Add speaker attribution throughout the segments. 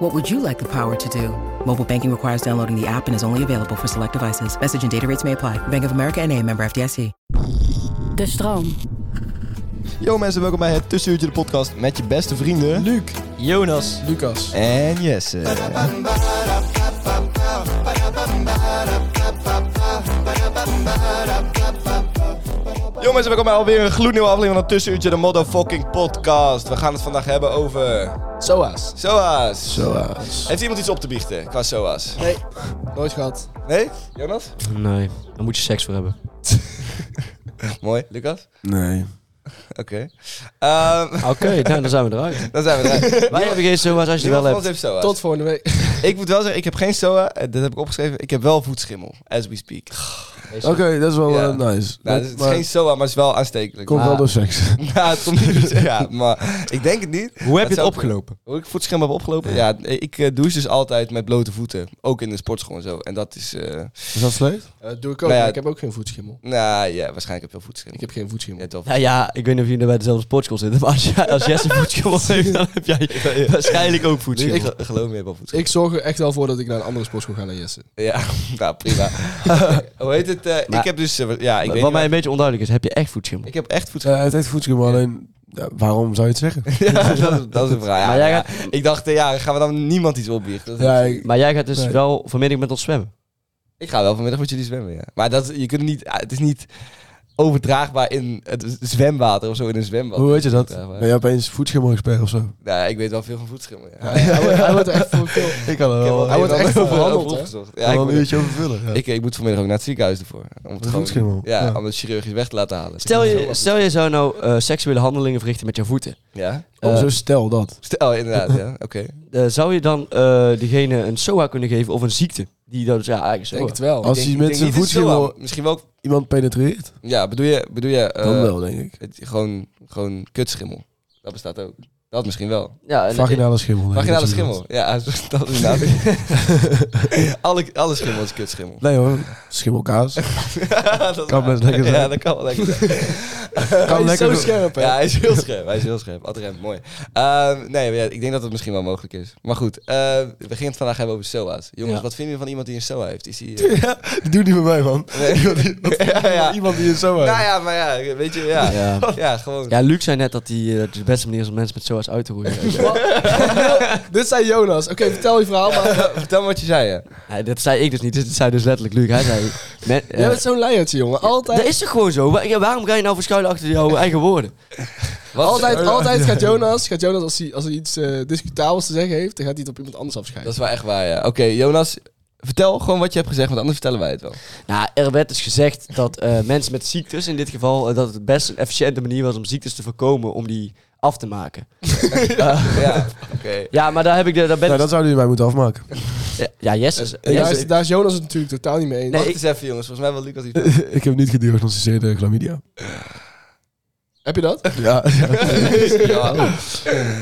Speaker 1: What would you like the power to do? Mobile banking requires downloading the app and is only available for select devices. Message and data rates may apply. Bank of America en a member FDIC.
Speaker 2: De stroom.
Speaker 3: Yo mensen, welkom bij het Tussenuurtje de podcast met je beste vrienden... Luc, Jonas
Speaker 4: Lucas.
Speaker 3: en Jesse. Yo mensen, welkom bij alweer een gloednieuwe aflevering van het Tussenuurtje de motherfucking podcast. We gaan het vandaag hebben over...
Speaker 4: Soas.
Speaker 3: SOA's.
Speaker 4: Soas.
Speaker 3: Heeft iemand iets op te biechten qua SOA's?
Speaker 4: Nee, nooit gehad.
Speaker 3: Nee? Jonas?
Speaker 5: Nee, daar moet je seks voor hebben.
Speaker 3: Mooi. Lucas?
Speaker 6: Nee.
Speaker 3: Oké. Ehm,
Speaker 5: Oké, nou, dan zijn we eruit.
Speaker 3: dan zijn we eruit.
Speaker 5: Wij hebben geen zomaar als je
Speaker 3: Niemand
Speaker 5: wel
Speaker 3: van ons
Speaker 5: hebt.
Speaker 3: heeft SOA's.
Speaker 4: Tot volgende week.
Speaker 3: Ik moet wel zeggen, ik heb geen SOA. eh, Dit heb ik opgeschreven. Ik heb wel voetschimmel, as we speak.
Speaker 6: Oké, dat is wel
Speaker 3: Ja.
Speaker 6: eh, nice.
Speaker 3: Nou,
Speaker 6: Dat-
Speaker 3: dus het is
Speaker 6: maar
Speaker 3: geen SOA, maar het is wel aanstekelijk.
Speaker 6: komt wel
Speaker 3: Maar-
Speaker 6: door seks.
Speaker 3: Ja, het komt niet door- ja, maar ik denk het niet.
Speaker 5: Hoe
Speaker 3: heb je het
Speaker 5: opgelopen?
Speaker 3: Hoe ik voetschimmel heb opgelopen? Ja, ik eh, douche dus altijd met blote voeten. Ook in de sportschool en zo. En dat is... eh,
Speaker 6: Is dat slecht?
Speaker 4: Dat Eh, doe ik ook.
Speaker 3: Nou ja,
Speaker 4: maar ik heb ook geen voetschimmel.
Speaker 3: nou ja, waarschijnlijk heb je wel voetschimmel.
Speaker 4: Ik heb geen voetschimmel.
Speaker 3: Ja, toch.
Speaker 5: Nou ja, ik weet niet of jullie bij dezelfde sportschool zitten, maar als, jij, als Jesse voetschimmel heeft, dan heb jij waarschijnlijk ook
Speaker 3: Ik
Speaker 5: voetschimmel.
Speaker 3: ge- geloof me, je hebt wel voetschimmel.
Speaker 4: Ik zorg er echt wel voor dat ik naar een andere sportschool ga dan Jesse.
Speaker 3: Ja, nou prima. Hoe heet het? eh, ik
Speaker 5: Maar-
Speaker 3: heb dus... eh, ja, ik weet
Speaker 5: Wat
Speaker 3: niet
Speaker 5: mij
Speaker 3: waar-
Speaker 5: een beetje onduidelijk is, heb je echt voetschimmel?
Speaker 3: Ik heb echt voetschimmel.
Speaker 6: Eh het heeft voetschimmel, maar alleen... ja, waarom zou je het zeggen?
Speaker 3: ja, dat, is- dat is een vraag. Ja,
Speaker 5: Maar jij
Speaker 3: ja. Ik dacht, eh, ja, gaan we dan niemand iets opbiechten? Dat is-
Speaker 6: Ja, ik,
Speaker 5: Maar jij gaat dus
Speaker 6: Nee.
Speaker 5: wel vanmiddag met ons zwemmen.
Speaker 3: Ik ga wel vanmiddag met jullie zwemmen, ja. Maar dat, je kunt niet, ah, het is niet overdraagbaar in het zwemwater of zo, in een zwembad.
Speaker 6: hoe weet je dat?
Speaker 3: Ja, maar-
Speaker 6: Ben je opeens voetschimmel-expert of zo?
Speaker 3: Nou, ik weet wel veel van voetschimmel, ja.
Speaker 4: Hij, wordt- hij wordt er echt voor veel.
Speaker 6: Ik kan er
Speaker 3: Ik heb
Speaker 6: wel
Speaker 3: wel
Speaker 4: hij wordt
Speaker 3: heel
Speaker 4: echt
Speaker 3: veel
Speaker 4: verhandeld,
Speaker 3: over
Speaker 4: hè?
Speaker 3: opgezocht. Ja,
Speaker 6: ja,
Speaker 3: ik,
Speaker 6: een
Speaker 3: moet,
Speaker 6: uurtje over vullen. Ja.
Speaker 3: ik, ik moet vanmiddag ook naar het ziekenhuis ervoor. Om het
Speaker 6: Met voetschimmel.
Speaker 3: Ja,
Speaker 6: Ja.
Speaker 3: om het chirurgisch weg te laten halen.
Speaker 5: Stel je, stel je zou nou eh, seksuele handelingen verrichten met jouw voeten.
Speaker 3: Ja,
Speaker 6: Oh,
Speaker 5: Eh,
Speaker 6: zo stel dat.
Speaker 3: stel, oh, inderdaad, ja. Oké.
Speaker 5: eh, zou je dan eh, diegene een SOA kunnen geven of een ziekte? Die dat, ja, eigenlijk
Speaker 4: Ik denk
Speaker 5: SOA.
Speaker 4: het wel.
Speaker 6: Als
Speaker 3: Ik
Speaker 6: die
Speaker 3: denk- ik
Speaker 6: met
Speaker 3: denk
Speaker 6: zijn
Speaker 3: niet dat het zo
Speaker 6: voetschimmel
Speaker 3: aan- Misschien wel...
Speaker 6: iemand penetreert,
Speaker 3: Ja, bedoel je... Bedoel je eh,
Speaker 6: dan wel, denk ik.
Speaker 3: het- gewoon, gewoon kutschimmel. Dat bestaat ook. Dat misschien wel.
Speaker 5: Ja, en-
Speaker 6: Vaginale schimmel. denk ik
Speaker 3: Vaginale
Speaker 6: dat ze
Speaker 3: schimmel.
Speaker 6: bedoelt.
Speaker 3: Ja, dat is inderdaad- alle, alle schimmel is kutschimmel.
Speaker 6: Nee hoor, schimmelkaas.
Speaker 3: dat is
Speaker 6: Kan
Speaker 3: waar.
Speaker 6: best lekker zijn.
Speaker 3: Ja, dat kan wel lekker zijn.
Speaker 6: kan
Speaker 4: hij is zo
Speaker 6: lekker...
Speaker 4: scherp, hè?
Speaker 3: Ja, hij is heel scherp. Hij is heel scherp. Adrem, mooi. Ehm, nee, maar ja, ik denk dat het misschien wel mogelijk is. Maar goed, eh, we gingen het vandaag hebben over SOA's. Jongens,
Speaker 5: Ja.
Speaker 3: wat vinden jullie van iemand die een SOA heeft? Is hij... eh,
Speaker 6: Die doet niet bij mij, man.
Speaker 3: ja, ja.
Speaker 6: Iemand die het zo heeft.
Speaker 3: Nou ja, maar ja, weet je, ja. Ja,
Speaker 5: ja.
Speaker 3: gewoon.
Speaker 5: ja, Luc zei net dat die, eh, dat de beste manier is om mensen met SOA's uit te roeien.
Speaker 4: Dit zei Jonas. Oké, vertel je verhaal. Maar
Speaker 3: Vertel me wat je zei, ja.
Speaker 5: Ja, dat zei ik dus niet. Dit zei dus letterlijk Luc. Hij zei... men- eh,
Speaker 4: jij bent zo'n leiertje, jongen. Altijd,
Speaker 5: dat is toch gewoon zo? Wa- ja, waarom ga je nou verschuilen achter jouw eigen woorden?
Speaker 3: Wat,
Speaker 4: altijd,
Speaker 3: eh,
Speaker 4: altijd gaat Jonas, gaat Jonas als, hij, als hij iets eh, discutabels te zeggen heeft, dan gaat hij het op iemand anders afschrijven.
Speaker 3: Dat is wel echt waar, ja. Oké, Jonas, vertel gewoon wat je hebt gezegd, want anders vertellen wij het wel.
Speaker 5: Nou, er werd dus gezegd dat eh, mensen met ziektes, in dit geval, eh, dat het best een efficiënte manier was om ziektes te voorkomen, om die af te maken.
Speaker 3: ja, oké.
Speaker 5: Ja, maar daar heb ik Eh, de... Daar ben
Speaker 6: Nou, dat zouden jullie mij moeten afmaken.
Speaker 5: Ja, yes. is-
Speaker 4: En
Speaker 5: yes
Speaker 4: daar,
Speaker 5: is-
Speaker 4: is, daar is Jonas het natuurlijk totaal niet mee eens.
Speaker 3: Wacht eens even, jongens. Volgens mij wil Lucas iets...
Speaker 6: ik heb niet gediagnosticeerde chlamydia.
Speaker 4: Heb je dat?
Speaker 6: Ja,
Speaker 3: Ja.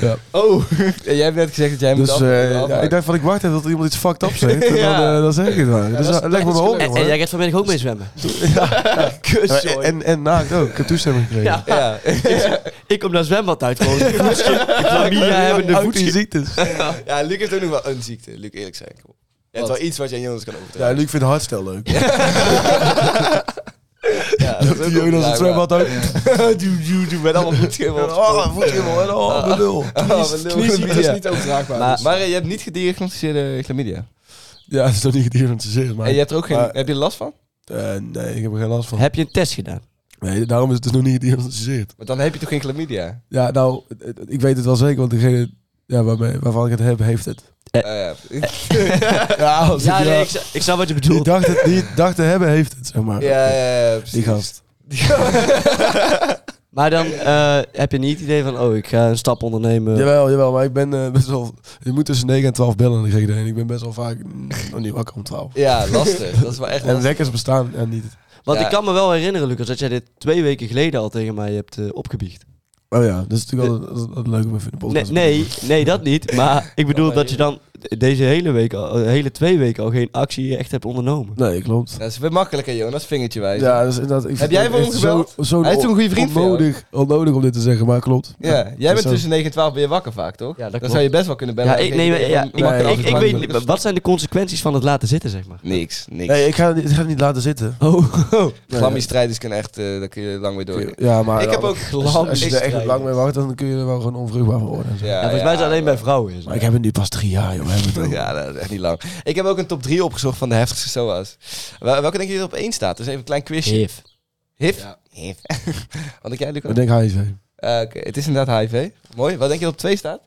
Speaker 6: Ja.
Speaker 3: Oh, jij hebt net gezegd dat jij moet
Speaker 6: Dus
Speaker 3: af-
Speaker 6: eh, ja,
Speaker 3: afmaken.
Speaker 6: ik dacht van ik wacht even tot iemand iets fucked up zegt. En
Speaker 3: Ja.
Speaker 6: dan, eh, dan zeg ik het maar. dus
Speaker 4: dat is-
Speaker 6: eh, leg me
Speaker 4: dat is
Speaker 6: maar op.
Speaker 4: gelukt.
Speaker 5: en, en
Speaker 6: jongen.
Speaker 5: jij gaat vanmiddag ook mee zwemmen.
Speaker 6: Ja, en, Eh, en, naakt ook. Ik heb toestemming gekregen.
Speaker 5: Ja.
Speaker 3: Ja.
Speaker 5: Ik kom naar zwembad uit gewoon. Ik hebben de
Speaker 6: Ook die
Speaker 5: voetjes.
Speaker 6: ziektes.
Speaker 3: ja, Luc heeft ook nog wel een ziekte. Luc, eerlijk zijn. Kom op. Het is wel iets wat je aan Jonas kan
Speaker 6: Ja,
Speaker 3: overdragen.
Speaker 6: Luc vindt hardstel leuk.
Speaker 3: Ja, dat is ook
Speaker 6: Jonas
Speaker 3: ondraagbaar.
Speaker 6: het zwembad ook.
Speaker 3: Doe, doe, doe, met allemaal voetschimmel.
Speaker 6: Oh, voetschimmel en oh, mijn lul.
Speaker 4: Knieziekte is niet overdraagbaar.
Speaker 5: Maar-
Speaker 4: dus.
Speaker 3: Maar eh, je hebt niet gediagnosticeerde chlamydia.
Speaker 6: Ja, dat is toch niet gediagnosticeerd, maar...
Speaker 3: En je hebt er ook geen...
Speaker 6: Maar-
Speaker 3: heb je er last van?
Speaker 6: Eh, nee, ik heb er geen last van.
Speaker 5: Heb je een test gedaan?
Speaker 6: Nee, daarom is het dus nog niet gediagnosticeerd.
Speaker 3: Maar dan heb je toch geen chlamydia?
Speaker 6: Ja, nou, het- het- ik weet het wel zeker, want degene ja, waarmee, waarvan ik het heb, heeft het.
Speaker 3: Ah, ja.
Speaker 6: Eh. Ja, als
Speaker 5: Ja,
Speaker 6: ik,
Speaker 5: nee, ik, ik snap wat je
Speaker 6: die,
Speaker 5: bedoelt.
Speaker 6: dacht het, die het dacht te hebben, heeft het, zeg maar.
Speaker 3: ja, ja, ja,
Speaker 6: Die
Speaker 3: precies.
Speaker 6: gast.
Speaker 5: Maar dan eh, heb je niet het idee van, oh, ik ga een stap ondernemen.
Speaker 6: Jawel, jawel, maar ik ben eh, best wel... Je moet tussen 9 en 12 bellen en dan Ik ben best wel vaak mm, nog niet wakker om 12.
Speaker 3: Ja, lastig. Dat is wel echt
Speaker 6: En
Speaker 3: lastig.
Speaker 6: wekkers bestaan en niet.
Speaker 5: Want
Speaker 3: Ja.
Speaker 5: ik kan me wel herinneren, Lucas, dat jij dit twee weken geleden al tegen mij hebt eh, opgebiecht.
Speaker 6: Oh ja, dat is
Speaker 3: Eh,
Speaker 6: natuurlijk altijd, altijd, altijd leuk om even in de
Speaker 5: Nee,
Speaker 6: podcast te
Speaker 5: nee, nee, dat niet. Maar ik bedoel dat je dan deze hele week, al, eh, hele twee weken al geen actie echt hebt ondernomen.
Speaker 6: doen. Nee, klopt.
Speaker 3: Dat is weer makkelijker, Jonas. Vingertje wijzen.
Speaker 6: Ja, dat is inderdaad... Ik vind
Speaker 3: jij
Speaker 6: het
Speaker 3: voor
Speaker 6: echt
Speaker 3: hem
Speaker 6: zo-
Speaker 3: gebeld?
Speaker 6: Zo'n
Speaker 3: Hij is toen een goede vriend van jou.
Speaker 6: onnodig, onnodig om dit te zeggen, maar klopt.
Speaker 3: Ja, jij
Speaker 6: Dus
Speaker 3: bent
Speaker 6: zo-
Speaker 3: tussen 9 en 12 ben je wakker vaak, toch?
Speaker 5: Ja, dat
Speaker 3: Dan
Speaker 5: klopt.
Speaker 3: zou je best wel kunnen bellen.
Speaker 5: Ja, ik, nee, maar- ja, ik,
Speaker 6: Nee,
Speaker 5: ik,
Speaker 6: dat
Speaker 5: ik,
Speaker 6: is
Speaker 5: weet
Speaker 6: belangrijk.
Speaker 5: niet, wat zijn de consequenties van het laten zitten, zeg maar?
Speaker 3: Niks, niks.
Speaker 6: Nee, ik ga, ik ga het niet laten zitten.
Speaker 5: Oh,
Speaker 6: Nee.
Speaker 3: Glammi-strijders kunnen echt, eh, daar kun je lang mee door. Ja,
Speaker 6: Ja, maar...
Speaker 3: Ik heb ook
Speaker 6: Als, als je er echt
Speaker 5: glamstrijden.
Speaker 6: lang mee wacht, dan kun je er wel gewoon onvruchtbaar voor worden.
Speaker 5: Ja, volgens mij is het alleen bij vrouwen. Is het.
Speaker 6: Maar ik heb het nu pas drie jaar, joh. we hebben het over.
Speaker 3: Ja, dat is echt niet lang. Ik heb ook een top 3 opgezocht van de heftigste SOA's. Wel- Welke denk je er op één staat? Dus even een klein quizje.
Speaker 5: Hif.
Speaker 3: HIV? HIV. Wat denk jij, Luca?
Speaker 6: Ik denk HIV.
Speaker 3: Eh, Oké, het is inderdaad HIV. Mooi. Wat denk je dat op 2 staat?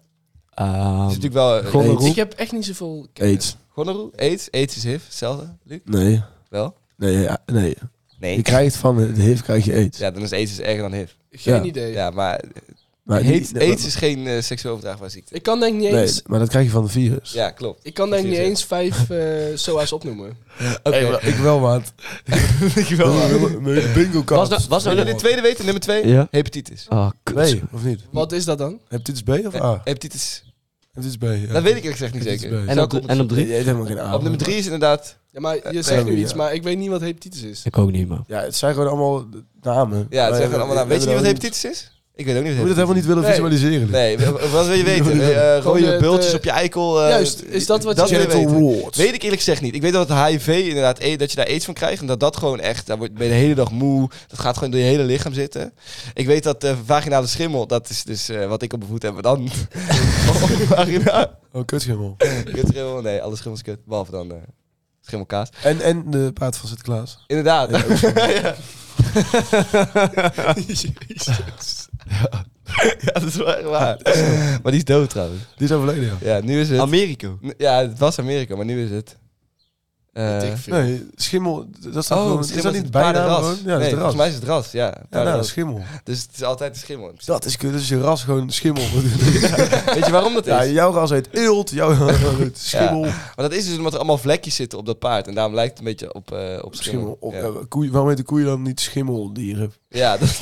Speaker 5: Ehm,
Speaker 3: is natuurlijk wel... eh,
Speaker 5: Gonorroe.
Speaker 3: AIDS.
Speaker 4: Ik heb echt niet zoveel...
Speaker 6: AIDS.
Speaker 3: Gonorroe? AIDS? AIDS is HIV. Hetzelfde, Luc?
Speaker 6: Nee.
Speaker 3: Wel?
Speaker 6: Nee, ja, nee.
Speaker 3: Nee.
Speaker 6: Je krijgt van het HIV krijg je AIDS.
Speaker 3: Ja, dan is AIDS dus erger dan HIV.
Speaker 4: Geen
Speaker 6: Ja.
Speaker 4: idee.
Speaker 3: Ja, maar
Speaker 6: Maar
Speaker 3: AIDS,
Speaker 6: niet-
Speaker 3: AIDS is geen eh, seksueel overdraagbare ziekte.
Speaker 4: Ik kan denk niet
Speaker 6: Nee,
Speaker 4: eens...
Speaker 6: maar dat krijg je van het virus.
Speaker 3: Ja, klopt.
Speaker 4: Ik kan denk niet
Speaker 3: Precies,
Speaker 4: eens vijf eh SOA's opnoemen.
Speaker 3: Oké.
Speaker 6: Hey, maar ik wel, maat. ik wel, Bingo
Speaker 5: Was nou- was nou
Speaker 3: Zullen we de tweede weten? Nummer 2?
Speaker 5: Ja.
Speaker 3: Hepatitis.
Speaker 5: Ah, kut.
Speaker 6: Nee, of niet?
Speaker 4: Wat is dat dan?
Speaker 6: Hepatitis B of A?
Speaker 3: Hepatitis.
Speaker 6: Hepatitis B, ja.
Speaker 3: Eh, Dat weet ik eerlijk gezegd niet
Speaker 6: Het is
Speaker 3: zeker.
Speaker 6: bij.
Speaker 3: Zou
Speaker 5: En
Speaker 3: ik
Speaker 5: op,
Speaker 3: op-
Speaker 5: en op
Speaker 6: Nee,
Speaker 5: drie?
Speaker 6: je hebt helemaal geen A.
Speaker 3: op nummer 3 is inderdaad.
Speaker 4: Ja, maar je
Speaker 3: Eh,
Speaker 4: zegt nu
Speaker 6: ja.
Speaker 4: iets, maar ik weet niet wat hepatitis is.
Speaker 5: Ik ook niet, man.
Speaker 6: Ja, het zijn gewoon allemaal namen.
Speaker 3: Ja, het
Speaker 6: Maar
Speaker 3: zijn gewoon allemaal namen. Weet je niet wat
Speaker 6: hebben
Speaker 3: hepatitis is? Ik weet ook niet
Speaker 6: We
Speaker 3: wat
Speaker 6: moeten het helemaal niet willen
Speaker 3: Nee.
Speaker 6: visualiseren.
Speaker 3: Nee, w- wat wil je weten? Eh, eh,
Speaker 4: Gewoon
Speaker 3: rode
Speaker 4: de-
Speaker 3: bultjes
Speaker 4: de-
Speaker 3: op je eikel. eh,
Speaker 4: Juist, is dat wat
Speaker 3: dat
Speaker 4: je
Speaker 3: wil je
Speaker 6: Genital
Speaker 3: weten?
Speaker 6: warts.
Speaker 3: Weet ik eerlijk gezegd niet. Ik weet dat het HIV inderdaad, eh, dat je daar aids van krijgt. En dat dat gewoon echt, daar word- ben je de hele dag moe. Dat gaat gewoon door je hele lichaam zitten. Ik weet dat eh, vaginale schimmel, dat is dus eh, wat ik op mijn voet heb. Maar dan... Vagina.
Speaker 6: Oh, kutschimmel.
Speaker 3: Kut schimmel? Nee, alle schimmels kut. Behalve dan eh, schimmelkaas.
Speaker 6: En, en de paard van Sinterklaas.
Speaker 3: Inderdaad. ja. ja, dat is wel echt waar. Maar die is dood trouwens.
Speaker 6: Die is overleden, ja.
Speaker 3: Ja, nu is het...
Speaker 5: Americo.
Speaker 3: Ja, het was Amerika, maar nu is het... eh,
Speaker 4: Weet ik veel.
Speaker 6: Nee, schimmel, dat staat
Speaker 3: oh,
Speaker 6: gewoon...
Speaker 3: schimmel
Speaker 6: Is dat
Speaker 3: het
Speaker 6: niet bijnaam
Speaker 3: paardenras.
Speaker 6: gewoon? Ja, dat
Speaker 3: nee,
Speaker 6: is de ras.
Speaker 3: volgens mij is het ras, ja.
Speaker 6: Ja, nou,
Speaker 3: Paardenras.
Speaker 6: schimmel.
Speaker 3: Dus het is altijd de schimmel.
Speaker 6: Dat is kut. Dus je ras gewoon schimmel.
Speaker 3: Weet je waarom dat is?
Speaker 6: ja, jouw ras heet eelt, jouw ras heet schimmel.
Speaker 3: Maar dat is dus omdat er allemaal vlekjes zitten op dat paard. En daarom lijkt het een beetje op, eh, op
Speaker 6: Schimmel.
Speaker 3: schimmel.
Speaker 6: Of,
Speaker 3: ja.
Speaker 6: eh, koeien- waarom heet de koeien dan niet schimmeldieren?
Speaker 3: Ja, dat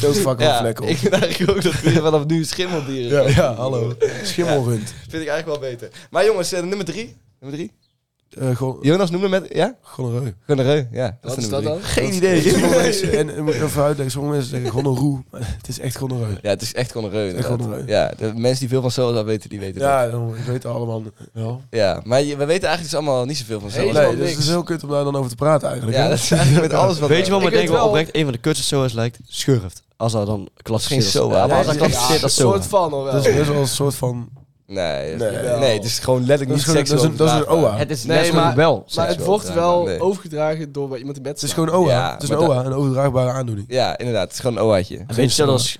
Speaker 6: Dat is fucking
Speaker 3: ja,
Speaker 6: vlek op.
Speaker 3: Ik vind eigenlijk ook dat we vanaf nu schimmeldieren
Speaker 6: Ja,
Speaker 3: zijn.
Speaker 6: ja, hallo. Schimmelhund.
Speaker 3: Vind ik eigenlijk wel beter. Maar jongens, eh, nummer drie. Nummer drie.
Speaker 6: Eh, Gewoon
Speaker 3: Jonas noemde met... Ja?
Speaker 6: gonoreu.
Speaker 3: Gonoreu, ja.
Speaker 4: Wat
Speaker 3: de
Speaker 4: is
Speaker 3: nummer
Speaker 4: dat
Speaker 3: drie.
Speaker 4: dan?
Speaker 3: Geen idee.
Speaker 6: Sommige mensen- En en moet ik even uitleggen, sommige mensen zeggen gonorroe. maar Het is echt gonoreu.
Speaker 3: Ja, het is echt gonoreu.
Speaker 6: Echt
Speaker 3: inderdaad.
Speaker 6: gonoreu.
Speaker 3: Ja, de mensen die veel van SOA's weten, die weten dat.
Speaker 6: Ja, dan- ik weet het allemaal wel.
Speaker 3: Ja, maar je- we weten eigenlijk dus allemaal niet zoveel van SOA's.
Speaker 4: Helemaal
Speaker 6: Nee, dus het is heel kut om daar dan over te praten eigenlijk.
Speaker 3: Ja,
Speaker 6: hè?
Speaker 3: dat is eigenlijk met alles wat...
Speaker 5: Weet je wat
Speaker 4: Ik
Speaker 5: me
Speaker 4: weet
Speaker 5: denk wel
Speaker 4: wel-
Speaker 5: oprecht een van de kutste SOA's lijkt? Schurft. Als dat dan klassificeert
Speaker 3: Geen
Speaker 5: als-
Speaker 3: SOA.
Speaker 5: Ja, maar als
Speaker 6: Ja,
Speaker 5: dat
Speaker 6: ja,
Speaker 5: klassificeert als
Speaker 4: Een soort
Speaker 5: SOA.
Speaker 4: van al wel.
Speaker 6: Dat is best wel een soort van...
Speaker 3: Nee,
Speaker 6: Nee.
Speaker 3: nee, nee, het is gewoon letterlijk niet
Speaker 6: Dat is gewoon-
Speaker 3: seksueel
Speaker 6: dat is een- dat is een
Speaker 3: overdraagbaar.
Speaker 6: OA.
Speaker 5: Het is
Speaker 4: Nee,
Speaker 5: net
Speaker 4: maar-
Speaker 5: wel.
Speaker 4: maar het
Speaker 3: seksueel
Speaker 4: wordt wel
Speaker 3: overdragen, nee.
Speaker 4: overgedragen door wat iemand in bed
Speaker 6: Het is
Speaker 4: staat.
Speaker 6: gewoon OA.
Speaker 3: Ja,
Speaker 6: het is een
Speaker 3: maar
Speaker 6: OA, een overdraagbare aandoening.
Speaker 3: Ja, inderdaad. Het is gewoon een OA'tje.
Speaker 5: Een beetje zelfs als
Speaker 3: EO.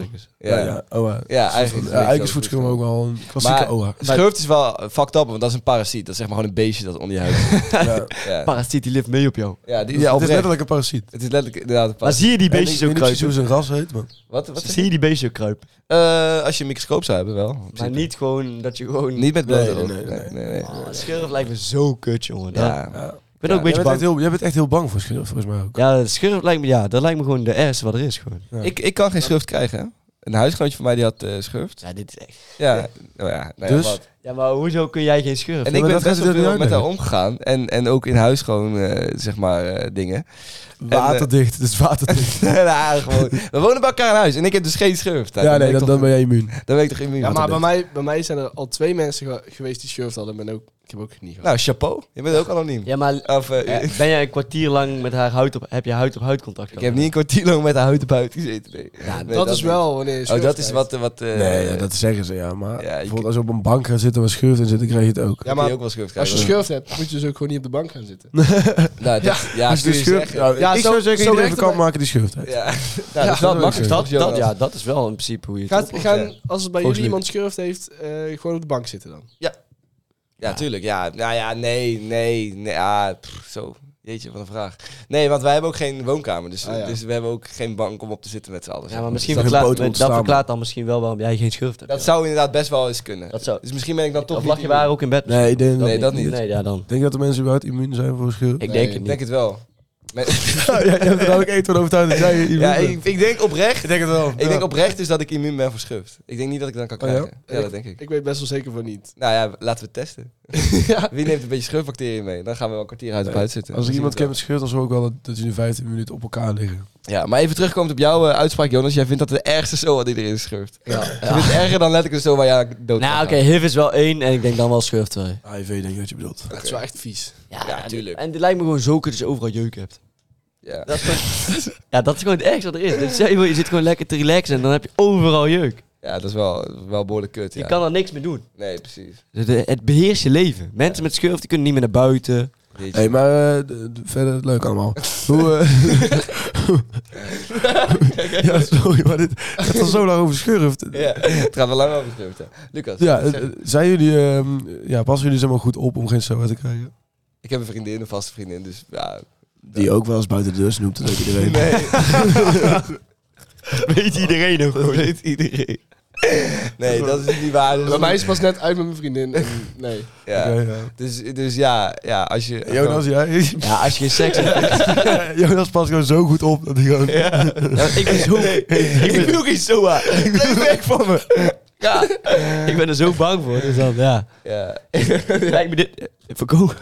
Speaker 5: voetschrift.
Speaker 3: Ja,
Speaker 6: Ja, ja, OA.
Speaker 3: Ja, eigenlijk.
Speaker 6: Ja, eigenlijk is voetschil ook wel een klassieke
Speaker 3: Maar-
Speaker 6: OA.
Speaker 3: Schurft is wel fucked up, want dat is een parasiet. Dat is zeg maar gewoon een beestje dat onder je huid zit.
Speaker 6: Ja.
Speaker 3: Ja,
Speaker 5: Parasiet die leeft mee op jou.
Speaker 3: ja, die,
Speaker 6: Ja,
Speaker 3: ja
Speaker 6: het is
Speaker 3: oprecht.
Speaker 6: letterlijk een parasiet.
Speaker 3: Het is letterlijk inderdaad een
Speaker 5: Maar
Speaker 3: parasiet.
Speaker 5: zie je die
Speaker 6: En ik
Speaker 5: beestjes ook
Speaker 6: weet niet precies hoe
Speaker 5: kruipen?
Speaker 6: zijn ras heet, man.
Speaker 3: Wat, wat zeg je?
Speaker 5: Zie je die beestjes ook kruipen?
Speaker 3: Eh, als je een microscoop zou hebben, wel. In
Speaker 5: Maar
Speaker 3: principe.
Speaker 5: niet gewoon dat je gewoon...
Speaker 3: Niet met blote
Speaker 6: Nee, nee,
Speaker 3: ogen.
Speaker 6: nee, nee. Oh,
Speaker 3: Oh,
Speaker 5: Ah, Schurft lijkt me zo kut, jongen. Daar-
Speaker 3: Ja.
Speaker 6: Ja.
Speaker 5: Ik ben ook een beetje
Speaker 6: jij, bent echt
Speaker 5: bang.
Speaker 6: heel, jij bent echt heel bang voor schil, volgens mij ook.
Speaker 5: Ja, schurft lijkt me... Ja, dat lijkt me gewoon de ergste wat er is, gewoon.
Speaker 6: Ja.
Speaker 3: Ik, ik kan geen schurft krijgen. hè. Een huisgenootje van mij die had eh schurft.
Speaker 5: Ja, dit is echt...
Speaker 3: Ja. Nou ja, nou ja,
Speaker 6: Dus?
Speaker 3: wat.
Speaker 5: Ja, maar hoezo kun jij geen schurft?
Speaker 3: En ik
Speaker 6: maar
Speaker 3: ben
Speaker 6: dat
Speaker 3: best
Speaker 6: gaat
Speaker 3: wel
Speaker 6: het
Speaker 3: veel
Speaker 6: niet
Speaker 3: met haar
Speaker 6: uitleggen.
Speaker 3: omgegaan. En, en ook in huis gewoon, eh, zeg maar, eh, dingen.
Speaker 6: Waterdicht, het is waterdicht.
Speaker 3: ja, gewoon. We wonen bij elkaar in huis. En ik heb dus geen schurft. Nou, dan
Speaker 6: ja, nee,
Speaker 3: ben ik
Speaker 6: dan,
Speaker 3: toch-
Speaker 6: dan ben jij immuun.
Speaker 3: dan ben ik toch immuun.
Speaker 4: Ja, maar bij
Speaker 3: Altijd.
Speaker 4: mij, bij mij zijn er al twee mensen ge- geweest die schurft hadden. Ben ook, ik heb ook niet gehad.
Speaker 3: Nou, chapeau. Je bent ook anoniem.
Speaker 5: Ja, maar...
Speaker 3: Of, eh,
Speaker 5: eh, Ben jij een kwartier lang met haar huid op... Heb je huid op huid contact
Speaker 3: ik heb niet een kwartier lang met haar huid op huid gezeten. Nee.
Speaker 4: Ja,
Speaker 3: Nee,
Speaker 4: dat, is
Speaker 3: niet.
Speaker 4: wel wanneer je
Speaker 3: Oh,
Speaker 4: schurft
Speaker 3: dat is
Speaker 4: krijgt.
Speaker 3: wat... eh, wat eh,
Speaker 6: Nee, ja, dat zeggen ze, ja. Maar
Speaker 3: Ja, je-
Speaker 6: bijvoorbeeld als je op een bank gaat zitten waar schurft in zit, dan krijg je het ook.
Speaker 3: Ja, maar ook wel schurft
Speaker 4: Als je
Speaker 3: krijgen.
Speaker 4: schurft hebt, moet je dus ook gewoon niet op de bank gaan zitten.
Speaker 3: Nou, dat, ja,
Speaker 6: als je
Speaker 3: kun
Speaker 6: de
Speaker 3: je
Speaker 6: schurft...
Speaker 3: zeggen.
Speaker 6: Nou,
Speaker 4: Ja, zo-
Speaker 6: ik zou
Speaker 4: zo
Speaker 6: zeggen, iedereen
Speaker 4: werkt het
Speaker 6: kan maken die schurft heeft.
Speaker 3: Ja, nou, dat is wel
Speaker 6: dat
Speaker 3: makkelijk.
Speaker 6: wil
Speaker 5: Dat,
Speaker 3: toch, Jonas?
Speaker 5: dat, ja, dat is wel in principe hoe je het
Speaker 4: Gaat,
Speaker 5: oplost.
Speaker 4: gaan, als het bij
Speaker 6: Volgens
Speaker 4: jullie iemand schurft heeft, eh, gewoon op de bank zitten dan.
Speaker 3: Ja, tuurlijk. Ja, nou ja, nee, nee, nee. Ah, pff, zo. Jeetje, wat een vraag. Nee, want wij hebben ook geen woonkamer. Dus,
Speaker 4: Ah, ja.
Speaker 3: dus we hebben ook geen bank om op te zitten met z'n allen. Dus
Speaker 5: Ja, maar misschien
Speaker 6: Is dat
Speaker 5: verklaart,
Speaker 6: een boot
Speaker 5: dat
Speaker 6: ontstaan,
Speaker 5: verklaart dan misschien wel waarom jij geen schurft hebt.
Speaker 3: Dat zou inderdaad best wel eens kunnen.
Speaker 5: Dat zou-
Speaker 3: Dus misschien ben ik dan toch
Speaker 5: of
Speaker 3: niet
Speaker 5: lag je waar
Speaker 3: immuun.
Speaker 5: ook in bed?
Speaker 6: Nee, ik denk,
Speaker 3: Nee, dat niet.
Speaker 5: Nee, ja dan.
Speaker 6: Ik denk dat de mensen überhaupt immuun zijn voor schurft.
Speaker 4: Nee,
Speaker 5: Ik denk het
Speaker 3: Ik
Speaker 5: niet.
Speaker 3: denk het wel.
Speaker 6: ja, je hebt er dadelijk eten van overtuigd dat jij immuun
Speaker 3: ja,
Speaker 6: bent.
Speaker 3: ik, ik denk oprecht.
Speaker 6: denk het wel.
Speaker 3: Ik denk oprecht dus dat ik immuun ben voor schurft. Ik denk niet dat ik dan kan
Speaker 6: Oh ja?
Speaker 3: krijgen. ja? dat denk ik.
Speaker 4: Ik weet best wel zeker van niet.
Speaker 3: Nou ja, laten we het testen.
Speaker 4: ja.
Speaker 3: Wie neemt een beetje schurftbacteriën mee? Dan gaan we wel een kwartier uit op
Speaker 6: Nee,
Speaker 3: uit zitten.
Speaker 6: Als ik
Speaker 3: Dan
Speaker 6: iemand
Speaker 3: zien
Speaker 6: ken
Speaker 3: we
Speaker 6: met scheur, dan zorg ik wel dat, dat jullie 15 minuten op elkaar liggen.
Speaker 3: het wel. Ja, maar even terugkomend op jouw eh, uitspraak, Jonas. Jij vindt dat de ergste SOA die erin is schurft.
Speaker 5: Ja.
Speaker 3: Je vindt het erger dan let ik er zo waar jij dood
Speaker 5: Nou,
Speaker 3: gaat.
Speaker 5: oké, HIV is wel één en ik denk dan wel schurf twee.
Speaker 6: HIV denk ik dat Ah, je bedoelt.
Speaker 4: Dat is wel echt vies.
Speaker 5: Ja,
Speaker 3: tuurlijk.
Speaker 5: En dit lijkt me gewoon zo kut dat je overal jeuk hebt.
Speaker 3: Ja.
Speaker 5: Dat is gewoon, ja, dat is gewoon het ergste wat er is. Dus stel je voor, je zit gewoon lekker te relaxen en dan heb je overal jeuk.
Speaker 3: ja, dat is wel, wel behoorlijk kut.
Speaker 5: Je
Speaker 3: ja.
Speaker 5: kan er niks meer doen.
Speaker 3: Nee, precies.
Speaker 5: Dus de- het beheerst je leven. Mensen met schurf die kunnen niet meer naar buiten.
Speaker 3: Jeetje.
Speaker 6: hey, maar eh, d- d- verder leuk allemaal. Hoe... eh, ja, sorry, maar dit gaat al zo lang over schurft.
Speaker 3: Ja, het gaat wel lang over schurft, hè. Lucas,
Speaker 6: Ja,
Speaker 3: zeg.
Speaker 6: eh, eh, zijn jullie... ehm, ja, passen jullie zeg maar goed op om geen SOA te krijgen?
Speaker 3: ik heb een vriendin, een vaste vriendin, dus ja...
Speaker 6: Die ook wel eens buiten de deur snoept, dat weet iedereen.
Speaker 3: Nee,
Speaker 5: Weet iedereen ook
Speaker 3: dat weet iedereen. Nee, dat is niet waar.
Speaker 4: Bij mij is het pas net uit met mijn vriendin. en nee.
Speaker 3: Ja. Dus, dus ja, ja, als je...
Speaker 6: Jonas, jij...
Speaker 5: Ja, als je geen seks hebt.
Speaker 6: Jonas past gewoon zo goed op dat hij gewoon...
Speaker 5: Ja, want ik ben zo... ik, ben,
Speaker 3: ook iets zo aan. Blijf weg van me. Ja.
Speaker 5: ik ben er zo bang voor. Dus dan, ja.
Speaker 3: ja.
Speaker 5: Lijkt me dit... Voorkomen,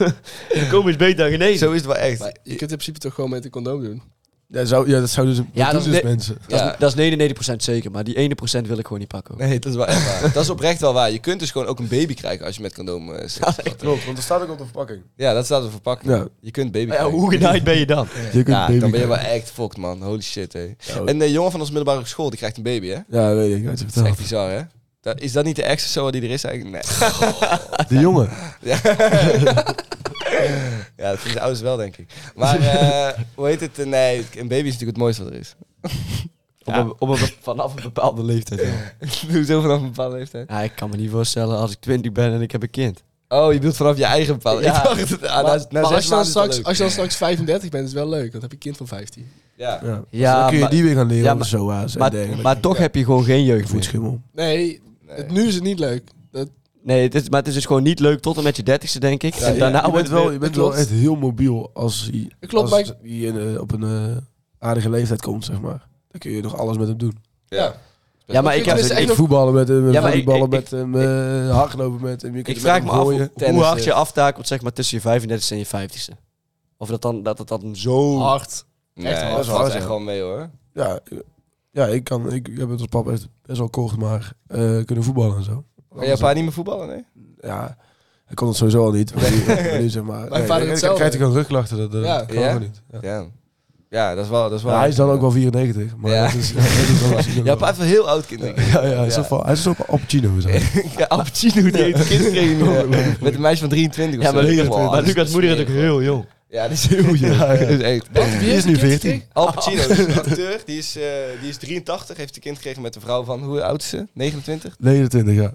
Speaker 5: voorkomen is beter dan genezen.
Speaker 3: Zo is het wel echt.
Speaker 4: Maar je kunt in principe toch gewoon met een condoom doen.
Speaker 6: Ja, zou, ja, dat zou dus...
Speaker 5: Ja, dat
Speaker 6: dat doen
Speaker 5: is
Speaker 6: dus
Speaker 5: de-
Speaker 6: mensen.
Speaker 5: Dat,
Speaker 3: Ja.
Speaker 5: is, dat is 99% zeker, maar die 1% wil ik gewoon niet pakken. hoor.
Speaker 3: Nee, dat is wel echt waar. Dat is oprecht wel waar. Je kunt dus gewoon ook een baby krijgen als je met condoom eh, seks hebt.
Speaker 6: Klopt, want er staat ook op de verpakking.
Speaker 3: Ja, dat staat op de verpakking.
Speaker 6: Ja.
Speaker 3: Je kunt baby
Speaker 5: Ja,
Speaker 3: krijgen.
Speaker 5: hoe genaaid ben je dan?
Speaker 6: Je kunt
Speaker 3: Ja,
Speaker 6: baby
Speaker 3: dan ben je wel
Speaker 6: krijgen.
Speaker 3: echt fucked, man. Holy shit, hé.
Speaker 6: Ja,
Speaker 3: En de jongen van onze middelbare school, die krijgt een baby, hè?
Speaker 6: Ja, weet ik.
Speaker 3: Dat
Speaker 6: Wat je
Speaker 3: is echt
Speaker 6: vertelt.
Speaker 3: bizar, hè? Da- Is dat niet de extra SOA die er is eigenlijk? Nee.
Speaker 6: De jongen.
Speaker 3: Ja, ja dat vinden de ouders wel, denk ik. Maar eh, hoe heet het? Nee, een baby is natuurlijk het mooiste wat er is.
Speaker 5: Op een, op een, vanaf een bepaalde leeftijd. Ja.
Speaker 3: Hoezo vanaf een bepaalde leeftijd?
Speaker 5: Ja, ik kan me niet voorstellen als ik 20 ben en ik heb een kind.
Speaker 3: Oh, je bedoelt vanaf je eigen bepaalde...
Speaker 5: Ja.
Speaker 3: Ik dacht, het- ah, na-
Speaker 4: maar
Speaker 3: na
Speaker 4: maar
Speaker 3: zes
Speaker 4: als, je dan
Speaker 3: maanden is het wel
Speaker 4: straks,
Speaker 3: leuk.
Speaker 4: als je dan straks 35 bent, is het wel leuk. Want dan heb je een kind van 15.
Speaker 3: Ja.
Speaker 6: Ja.
Speaker 5: Ja,
Speaker 6: Dus dan kun je
Speaker 5: maar-
Speaker 6: die weer gaan leren
Speaker 5: ja,
Speaker 6: ja,
Speaker 5: maar-
Speaker 6: SOA's en
Speaker 5: Maar,
Speaker 6: dergelijke.
Speaker 5: maar toch heb je gewoon geen jeugd meer.
Speaker 6: Voetschimmel.
Speaker 4: Nee, het, nu is het niet leuk. Dat,
Speaker 5: Nee, het is, maar het is dus gewoon niet leuk tot en met je dertigste, denk ik. en daarna
Speaker 6: je bent
Speaker 5: wordt het
Speaker 6: wel,
Speaker 5: weer-
Speaker 6: je bent
Speaker 4: dat
Speaker 6: wel
Speaker 4: klopt.
Speaker 6: echt heel mobiel als hij,
Speaker 4: klopt,
Speaker 6: als
Speaker 4: maar
Speaker 6: hij in, eh, op een eh, aardige leeftijd komt, zeg maar. Dan kun je nog alles met hem doen.
Speaker 3: Ja.
Speaker 5: Ja, maar ik heb...
Speaker 4: Het is
Speaker 5: Ik,
Speaker 4: echt
Speaker 6: Ik voetballen met hem,
Speaker 5: Ja, maar ik-
Speaker 6: voetballen
Speaker 5: ik-
Speaker 6: met hem, eh, hardlopen met hem. Je kunt
Speaker 5: ik
Speaker 6: met
Speaker 5: vraag
Speaker 6: hem
Speaker 5: me af eh,
Speaker 6: gooien.
Speaker 5: hoe, hoe
Speaker 3: tennissen.
Speaker 5: hard je aftakelt zeg maar, tussen je 35ste en je 50ste. Of dat dan, dat, dat dan zo...
Speaker 4: hard.
Speaker 3: Nee,
Speaker 4: Echt wel,
Speaker 3: dat
Speaker 6: dat is wel
Speaker 3: valt echt
Speaker 6: zo.
Speaker 3: wel mee, hoor.
Speaker 6: Ja, eh, ja, ik kan. Ik, ik heb het als pap echt best wel kort, maar eh, kunnen voetballen en zo.
Speaker 3: Kan je pa niet meer voetballen, nee?
Speaker 6: Ja, hij kon het sowieso al niet. Maar nu, maar nu zeg maar.
Speaker 4: vader hetzelfde.
Speaker 6: krijgt hij gewoon rugklachten. Dat, dat
Speaker 4: Ja.
Speaker 6: kan
Speaker 3: Ja?
Speaker 6: gewoon niet. Ja.
Speaker 3: Ja. Ja, dat is wel... Dat is wel
Speaker 6: Maar hij is dan ook wel 94. Maar
Speaker 3: Ja.
Speaker 6: dat is, dat is wel lastig.
Speaker 3: Ja, pa heeft wel heel oud kinderen.
Speaker 6: Ja, ja, hij is op- hij is op Opcino. Zo.
Speaker 3: Ja, Al Pacino, die heeft een kind gekregen nu, hè. Met een meisje van 23 of
Speaker 5: Ja, maar,
Speaker 3: zo.
Speaker 5: Lucas,
Speaker 3: Oh,
Speaker 5: maar
Speaker 3: dat is
Speaker 5: Lucas' moeder is ook heel jong.
Speaker 3: Ja, die is heel jong.
Speaker 6: Ja, ja.
Speaker 3: Dat is echt...
Speaker 6: Die is nu 14.
Speaker 3: Al Pacino, dat is een acteur, die is, eh, die is 83, heeft een kind gekregen met een vrouw van, hoe oud is ze? 29?
Speaker 6: 29, ja.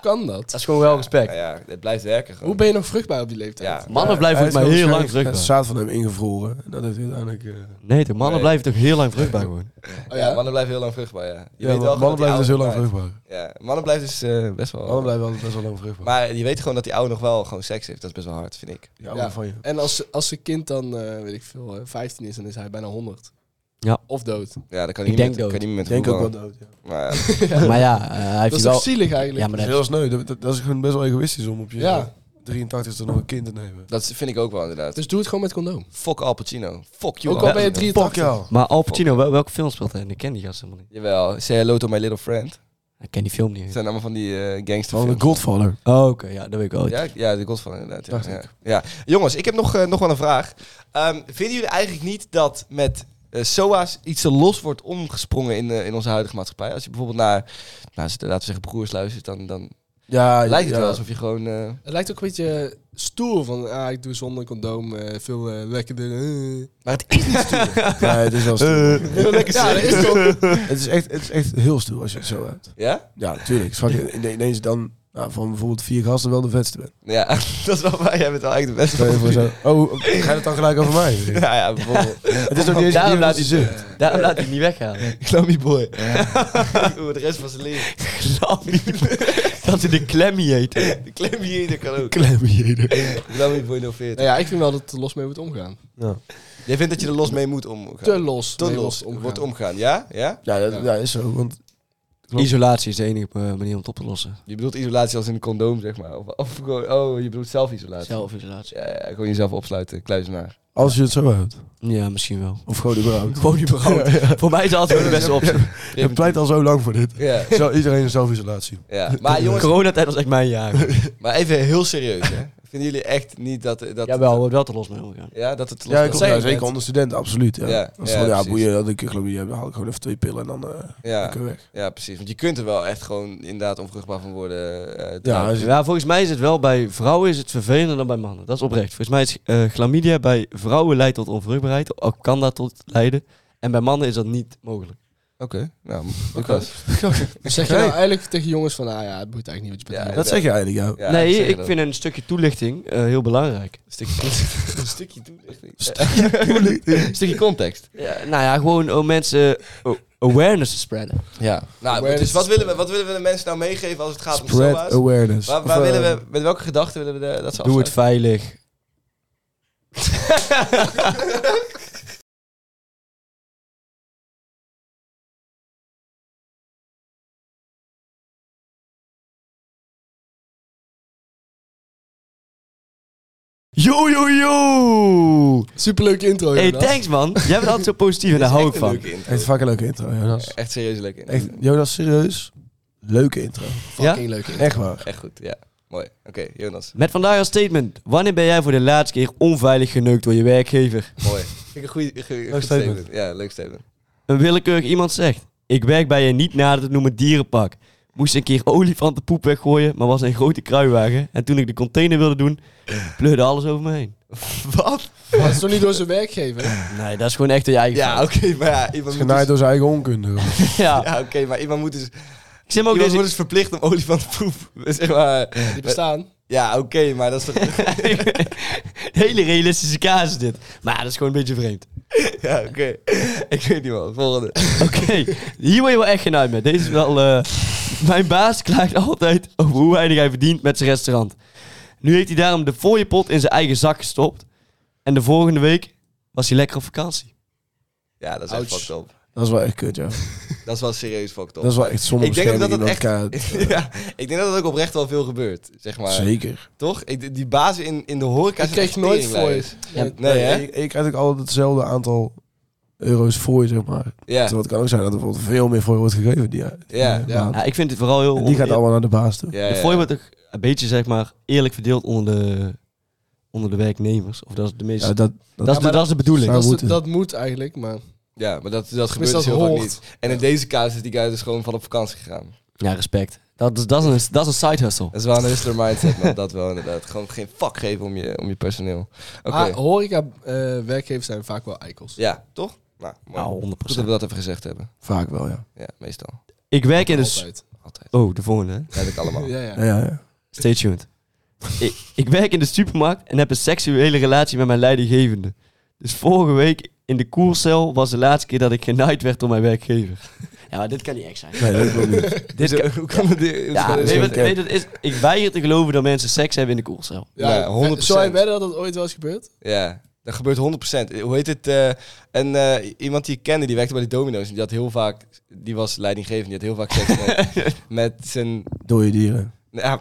Speaker 4: Kan dat?
Speaker 5: Dat is gewoon wel respect.
Speaker 3: Nou ja, het blijft werken gewoon.
Speaker 4: Hoe ben je nog vruchtbaar op die leeftijd?
Speaker 3: Ja.
Speaker 5: Mannen
Speaker 6: Ja,
Speaker 5: blijven het
Speaker 6: hij is
Speaker 5: maar
Speaker 6: nog
Speaker 5: heel lang
Speaker 6: waarschijnlijk- Het
Speaker 5: vruchtbaar.
Speaker 6: zaad van hem ingevroren. En dat heeft hij uiteindelijk... eh,
Speaker 5: Nee, de mannen
Speaker 3: Nee.
Speaker 5: blijven toch heel lang vruchtbaar gewoon.
Speaker 4: Oh,
Speaker 3: ja,
Speaker 4: ja?
Speaker 3: mannen blijven heel lang vruchtbaar, ja. Je
Speaker 6: ja,
Speaker 3: weet wel gewoon
Speaker 6: mannen
Speaker 3: dat die
Speaker 6: blijven dus heel lang
Speaker 3: oude nog
Speaker 6: vruchtbaar.
Speaker 3: blijft. Ja, mannen blijven dus eh, best wel...
Speaker 6: Mannen blijven altijd best wel lang vruchtbaar.
Speaker 3: Maar je weet gewoon dat die oude nog wel gewoon seks heeft. Dat is best wel hard, vind ik.
Speaker 6: ja,
Speaker 4: Ja.
Speaker 6: van je.
Speaker 4: En als, als zijn kind dan, eh, weet ik veel, eh, 15 is, dan is hij bijna 100.
Speaker 5: Ja.
Speaker 4: Of dood.
Speaker 3: Ja, dat kan
Speaker 5: Ik
Speaker 3: niet met,
Speaker 5: denk dood.
Speaker 3: kan niet meer
Speaker 6: Ik
Speaker 3: met
Speaker 6: denk ook wel
Speaker 3: voetballen.
Speaker 6: dood, ja.
Speaker 3: Maar, ja.
Speaker 5: Maar ja, eh, hij
Speaker 4: Dat
Speaker 5: heeft
Speaker 4: is
Speaker 5: die
Speaker 4: toch
Speaker 5: wel...
Speaker 4: zielig
Speaker 5: Ja,
Speaker 4: eigenlijk?
Speaker 5: maar
Speaker 6: Dat is
Speaker 5: dat
Speaker 6: heel sneu. Dat, dat is gewoon best wel egoïstisch om op je
Speaker 4: Ja.
Speaker 6: 83 nog een kind te nemen.
Speaker 3: dat vind ik ook wel inderdaad.
Speaker 4: Dus doe het gewoon met condoom.
Speaker 3: Fuck Al Pacino. Fuck you,
Speaker 4: Ook al ben je
Speaker 3: Pacino.
Speaker 4: 83.
Speaker 6: Fuck jou.
Speaker 5: Maar Al Pacino, wel, welke film speelt hij? in? Ik ken die gast helemaal niet.
Speaker 3: Jawel, say hello to my little friend.
Speaker 5: Ik ken die film niet.
Speaker 3: Het zijn allemaal van die eh
Speaker 6: Van de
Speaker 3: gangsterfilms.
Speaker 6: Godfather.
Speaker 5: Oh, oké, ja, dat weet ik wel.
Speaker 3: Ja, ja, de Godfather inderdaad. Ja.
Speaker 6: Dacht
Speaker 3: Ja.
Speaker 6: ik.
Speaker 3: Ja. Jongens, ik heb nog, eh, nog wel een vraag. Ehm, vinden jullie eigenlijk niet dat met eh, SOA's iets te los wordt omgesprongen in, eh, in onze huidige maatschappij? Als je bijvoorbeeld naar, nou, laten we zeggen, broers luistert, dan, dan
Speaker 6: Ja,
Speaker 3: lijkt het
Speaker 6: ja.
Speaker 3: wel alsof je gewoon... eh,
Speaker 4: Het lijkt ook een beetje stoer van, ah, ik doe zonder condoom eh, veel eh, lekkerder. eh.
Speaker 3: maar het is niet stoer.
Speaker 6: Ja, het is wel stoer.
Speaker 3: Heel lekker
Speaker 4: Ja, dat
Speaker 3: serieus.
Speaker 4: is toch...
Speaker 6: Eh, het, is echt, het is echt heel stoer als je het zo hebt.
Speaker 3: Ja?
Speaker 6: Ja, natuurlijk. Als je ine- ineens dan nou, van bijvoorbeeld vier gasten wel de vetste bent.
Speaker 3: Ja, dat is wel waar. Jij bent wel echt de beste.
Speaker 6: Stel je voor zo, oh, ga je het dan gelijk over mij?
Speaker 3: Nou ja, bijvoorbeeld.
Speaker 6: Het is nog niet eens
Speaker 5: Daarom
Speaker 6: een
Speaker 5: laat
Speaker 6: dat
Speaker 5: hij
Speaker 6: hij zegt.
Speaker 5: Daarom laat hij het niet weggaan.
Speaker 3: Glammy boy. Oeh, de rest van zijn leven.
Speaker 5: Glammy. dat hij de klemmie heet.
Speaker 3: De Glammy hier, dat kan ook.
Speaker 6: Klem hier.
Speaker 3: Glammy boy 040.
Speaker 4: Nou ja, ik vind wel dat het er los mee moet omgaan.
Speaker 6: Ja.
Speaker 3: Jij vindt dat je er los mee moet omgaan?
Speaker 4: Te los.
Speaker 3: Te
Speaker 4: mee
Speaker 3: los
Speaker 4: omgaan.
Speaker 3: wordt omgaan, ja? ja?
Speaker 6: Ja, dat ja, is zo. Want Klopt.
Speaker 5: Isolatie is de enige eh, manier om het op te lossen.
Speaker 3: Je bedoelt isolatie als in een condoom, zeg maar. Of, of gewoon, oh, je bedoelt zelfisolatie.
Speaker 5: Zelfisolatie.
Speaker 3: Ja, ja, gewoon jezelf opsluiten, kluizenaar.
Speaker 6: als je het zo hebt,
Speaker 5: Ja, misschien wel.
Speaker 6: of gewoon überhaupt.
Speaker 5: Gewoon überhaupt. Voor mij is dat altijd wel de beste optie.
Speaker 6: Je pleit al zo lang voor dit.
Speaker 3: Ja,
Speaker 6: Zo, iedereen in zelfisolatie.
Speaker 3: ja. Maar jongens,
Speaker 5: Coronatijd was echt mijn jaar.
Speaker 3: maar even heel serieus, hè. Vinden jullie echt niet dat... dat
Speaker 5: Jawel, we hebben wel te los mee omgegaan.
Speaker 3: Ja, dat het los
Speaker 6: Ja, ik
Speaker 3: dat
Speaker 6: ja,
Speaker 3: zijn
Speaker 6: zeker
Speaker 3: bent.
Speaker 6: onder studenten, absoluut. Ja,
Speaker 3: Ja,
Speaker 6: ja,
Speaker 3: ja,
Speaker 6: ja,
Speaker 3: precies.
Speaker 6: boeien, dat ik ik geloof, je hebt- haal ik gewoon even twee pillen en dan eh
Speaker 3: Ja,
Speaker 6: kun je weg.
Speaker 3: ja, precies. Want je kunt er wel echt gewoon inderdaad onvruchtbaar van worden. eh,
Speaker 6: Ja,
Speaker 3: trouwens.
Speaker 6: als je-
Speaker 5: Ja, volgens mij is het wel bij vrouwen is het vervelender dan bij mannen. Dat is oprecht. Volgens mij is eh chlamydia bij vrouwen leidt tot onvruchtbaarheid. Ook kan dat tot leiden. En bij mannen is dat niet mogelijk.
Speaker 3: Oké, nou, Lucas.
Speaker 4: Dus zeg je nou eigenlijk tegen jongens van, nou ja, het boeit eigenlijk niet wat je
Speaker 3: Ja,
Speaker 4: bent.
Speaker 6: dat zeg je eigenlijk, ja.
Speaker 3: Ja,
Speaker 5: nee,
Speaker 3: zeg
Speaker 5: ik
Speaker 3: dat.
Speaker 5: vind een stukje toelichting eh, heel belangrijk.
Speaker 3: Een stukje toelichting. Een stukje toelichting. Een stukje context.
Speaker 5: Ja, nou ja, gewoon om mensen eh, awareness te spreaden.
Speaker 3: Ja. Nou,
Speaker 4: Awareness
Speaker 3: dus wat
Speaker 4: is-
Speaker 3: willen, we, wat willen we de mensen nou meegeven als het gaat om
Speaker 6: Spread
Speaker 3: SOA's?
Speaker 6: awareness.
Speaker 3: Waar,
Speaker 6: Of,
Speaker 3: waar
Speaker 6: eh,
Speaker 3: willen we, met welke gedachten willen we de, dat ze
Speaker 5: Doe het veilig. Yo, yo, yo!
Speaker 4: Superleuke intro,
Speaker 5: Hey,
Speaker 4: Jonas.
Speaker 5: thanks man. Jij bent altijd zo positief en daar hou ik
Speaker 3: Echt een
Speaker 5: van.
Speaker 3: leuke intro.
Speaker 6: eh, Echt vaak een leuke intro, Jonas.
Speaker 3: Echt serieus leuk in.
Speaker 6: Echt, Jonas, serieus. Leuke intro.
Speaker 5: Ja?
Speaker 4: Fucking leuke intro.
Speaker 6: Echt waar.
Speaker 3: Echt goed, ja. Mooi. Oké, Jonas.
Speaker 5: Met vandaag als statement. Wanneer ben jij voor de laatste keer onveilig geneukt door je werkgever?
Speaker 3: Mooi. Vind ik een goede goeie, goed
Speaker 6: statement.
Speaker 3: statement. Ja, leuk statement.
Speaker 5: Een willekeurig iemand zegt. Ik werk bij een niet nader te noemen dierenpak. Moest een keer olifantenpoep weggooien, maar was een grote kruiwagen. En toen ik de container wilde doen, pleurde alles over me heen.
Speaker 3: Wat?
Speaker 4: Maar Dat is toch niet door zijn werkgever?
Speaker 5: Nee, dat is gewoon echt door je eigen
Speaker 3: Ja,
Speaker 5: fout.
Speaker 3: oké, maar ja,
Speaker 6: Het
Speaker 3: iemand
Speaker 6: is
Speaker 3: moet dus-
Speaker 6: genaaid door zijn eigen onkunde. hoor.
Speaker 5: ja.
Speaker 3: Ja, oké, maar iemand moet dus...
Speaker 5: Ik zit me ook
Speaker 3: Iemand
Speaker 5: deze...
Speaker 3: wordt dus verplicht om olifantenpoep. Zeg maar...
Speaker 4: Die bestaan.
Speaker 3: Ja, oké, maar dat is toch...
Speaker 5: Hele realistische kaas is dit. Maar ja, dat is gewoon een beetje vreemd.
Speaker 3: Ja, oké. Ik weet niet wel. Volgende.
Speaker 5: Oké, hier word je wel echt genaaid mee. Deze is wel... eh, Mijn baas klaagt altijd over hoe weinig hij verdient met zijn restaurant. Nu heeft hij daarom de fooiepot in zijn eigen zak gestopt. En de volgende week was hij lekker op vakantie.
Speaker 3: Ja, dat is echt
Speaker 4: Ouch.
Speaker 3: fucked up.
Speaker 6: Dat is wel echt kut, ja.
Speaker 3: Dat is wel serieus fucked up.
Speaker 6: Dat is wel echt sommige
Speaker 3: Ik denk ook dat het echt...
Speaker 6: bescherming in elkaar-
Speaker 3: ja, ik denk dat het ook oprecht wel veel gebeurt, zeg maar.
Speaker 6: Zeker.
Speaker 3: Toch? Ik, die bazen in, in de horeca
Speaker 4: Ik
Speaker 3: zijn
Speaker 4: kreeg
Speaker 3: echt
Speaker 4: nooit voor
Speaker 3: teringlijers.
Speaker 4: je.
Speaker 5: Ja.
Speaker 3: Nee, hè?
Speaker 6: Ik, ik krijg ook altijd hetzelfde aantal euro's voor je, zeg maar.
Speaker 3: Ja.
Speaker 6: Terwijl het kan ook zijn dat er bijvoorbeeld veel meer voor je wordt gegeven. Die, die
Speaker 3: Ja,
Speaker 6: maand.
Speaker 4: ja.
Speaker 5: Ja, ik vind het vooral heel...
Speaker 6: En die gaat
Speaker 5: oneer-
Speaker 6: allemaal naar de baas toe.
Speaker 3: Ja,
Speaker 5: De
Speaker 3: ja,
Speaker 5: fooi
Speaker 3: ja.
Speaker 5: wordt ook een beetje, zeg maar, eerlijk verdeeld onder de, onder de werknemers. Of dat is de meeste...
Speaker 6: Ja, dat, dat,
Speaker 5: dat, is de, dat is de bedoeling.
Speaker 6: Zou
Speaker 4: Dat, is de-
Speaker 6: moeten.
Speaker 4: dat moet eigenlijk, maar...
Speaker 3: Ja, maar dat, dat gebeurt
Speaker 4: Tenminste,
Speaker 3: dus
Speaker 4: dat
Speaker 3: heel vaak
Speaker 4: hoort.
Speaker 3: niet. En in deze kaas is die guy dus gewoon van op vakantie gegaan.
Speaker 5: Ja, respect. Dat is, dat is, een, dat is een side hustle.
Speaker 3: Dat is wel een hustler mindset, man. Dat wel inderdaad. Gewoon geen fuck geven om je, om je personeel. Oké.
Speaker 4: Ah, horeca-werkgevers zijn vaak wel eikels.
Speaker 3: Ja, toch? Nou, mooi.
Speaker 5: Nou, 100%.
Speaker 3: Goed dat we dat even gezegd hebben.
Speaker 6: Vaak wel, ja.
Speaker 3: Ja, meestal.
Speaker 5: Ik werk
Speaker 3: dus-
Speaker 5: in de... s-
Speaker 4: Altijd.
Speaker 3: Altijd.
Speaker 5: Oh, de volgende, hè?
Speaker 3: Dat heb ik allemaal.
Speaker 4: Ja, ja.
Speaker 6: Ja, ja, ja.
Speaker 5: Stay tuned. ik, ik werk in de supermarkt en heb een seksuele relatie met mijn leidinggevende. Dus vorige week in de koercel was de laatste keer dat ik genaaid werd door mijn werkgever. Ja, maar dit kan niet echt zijn.
Speaker 6: Nee, dat wil niet.
Speaker 5: Dit kan-
Speaker 3: Dus Hoe kan het?
Speaker 5: ja,
Speaker 3: dit-
Speaker 5: nee,
Speaker 6: geen
Speaker 5: wat-
Speaker 6: kern.
Speaker 5: nee, dat is, ik weiger te geloven dat mensen seks hebben in de koercel.
Speaker 3: Ja, 100%.
Speaker 4: eh, Zou je wedden dat dat ooit wel is gebeurd?
Speaker 3: Ja, dat gebeurt 100%. Hoe heet het? eh, en eh, iemand die ik kende, die werkte bij de Domino's. en Die had heel vaak, die was leidinggevende, die had heel vaak seks met, met zijn...
Speaker 6: Dode dieren.
Speaker 3: Ja,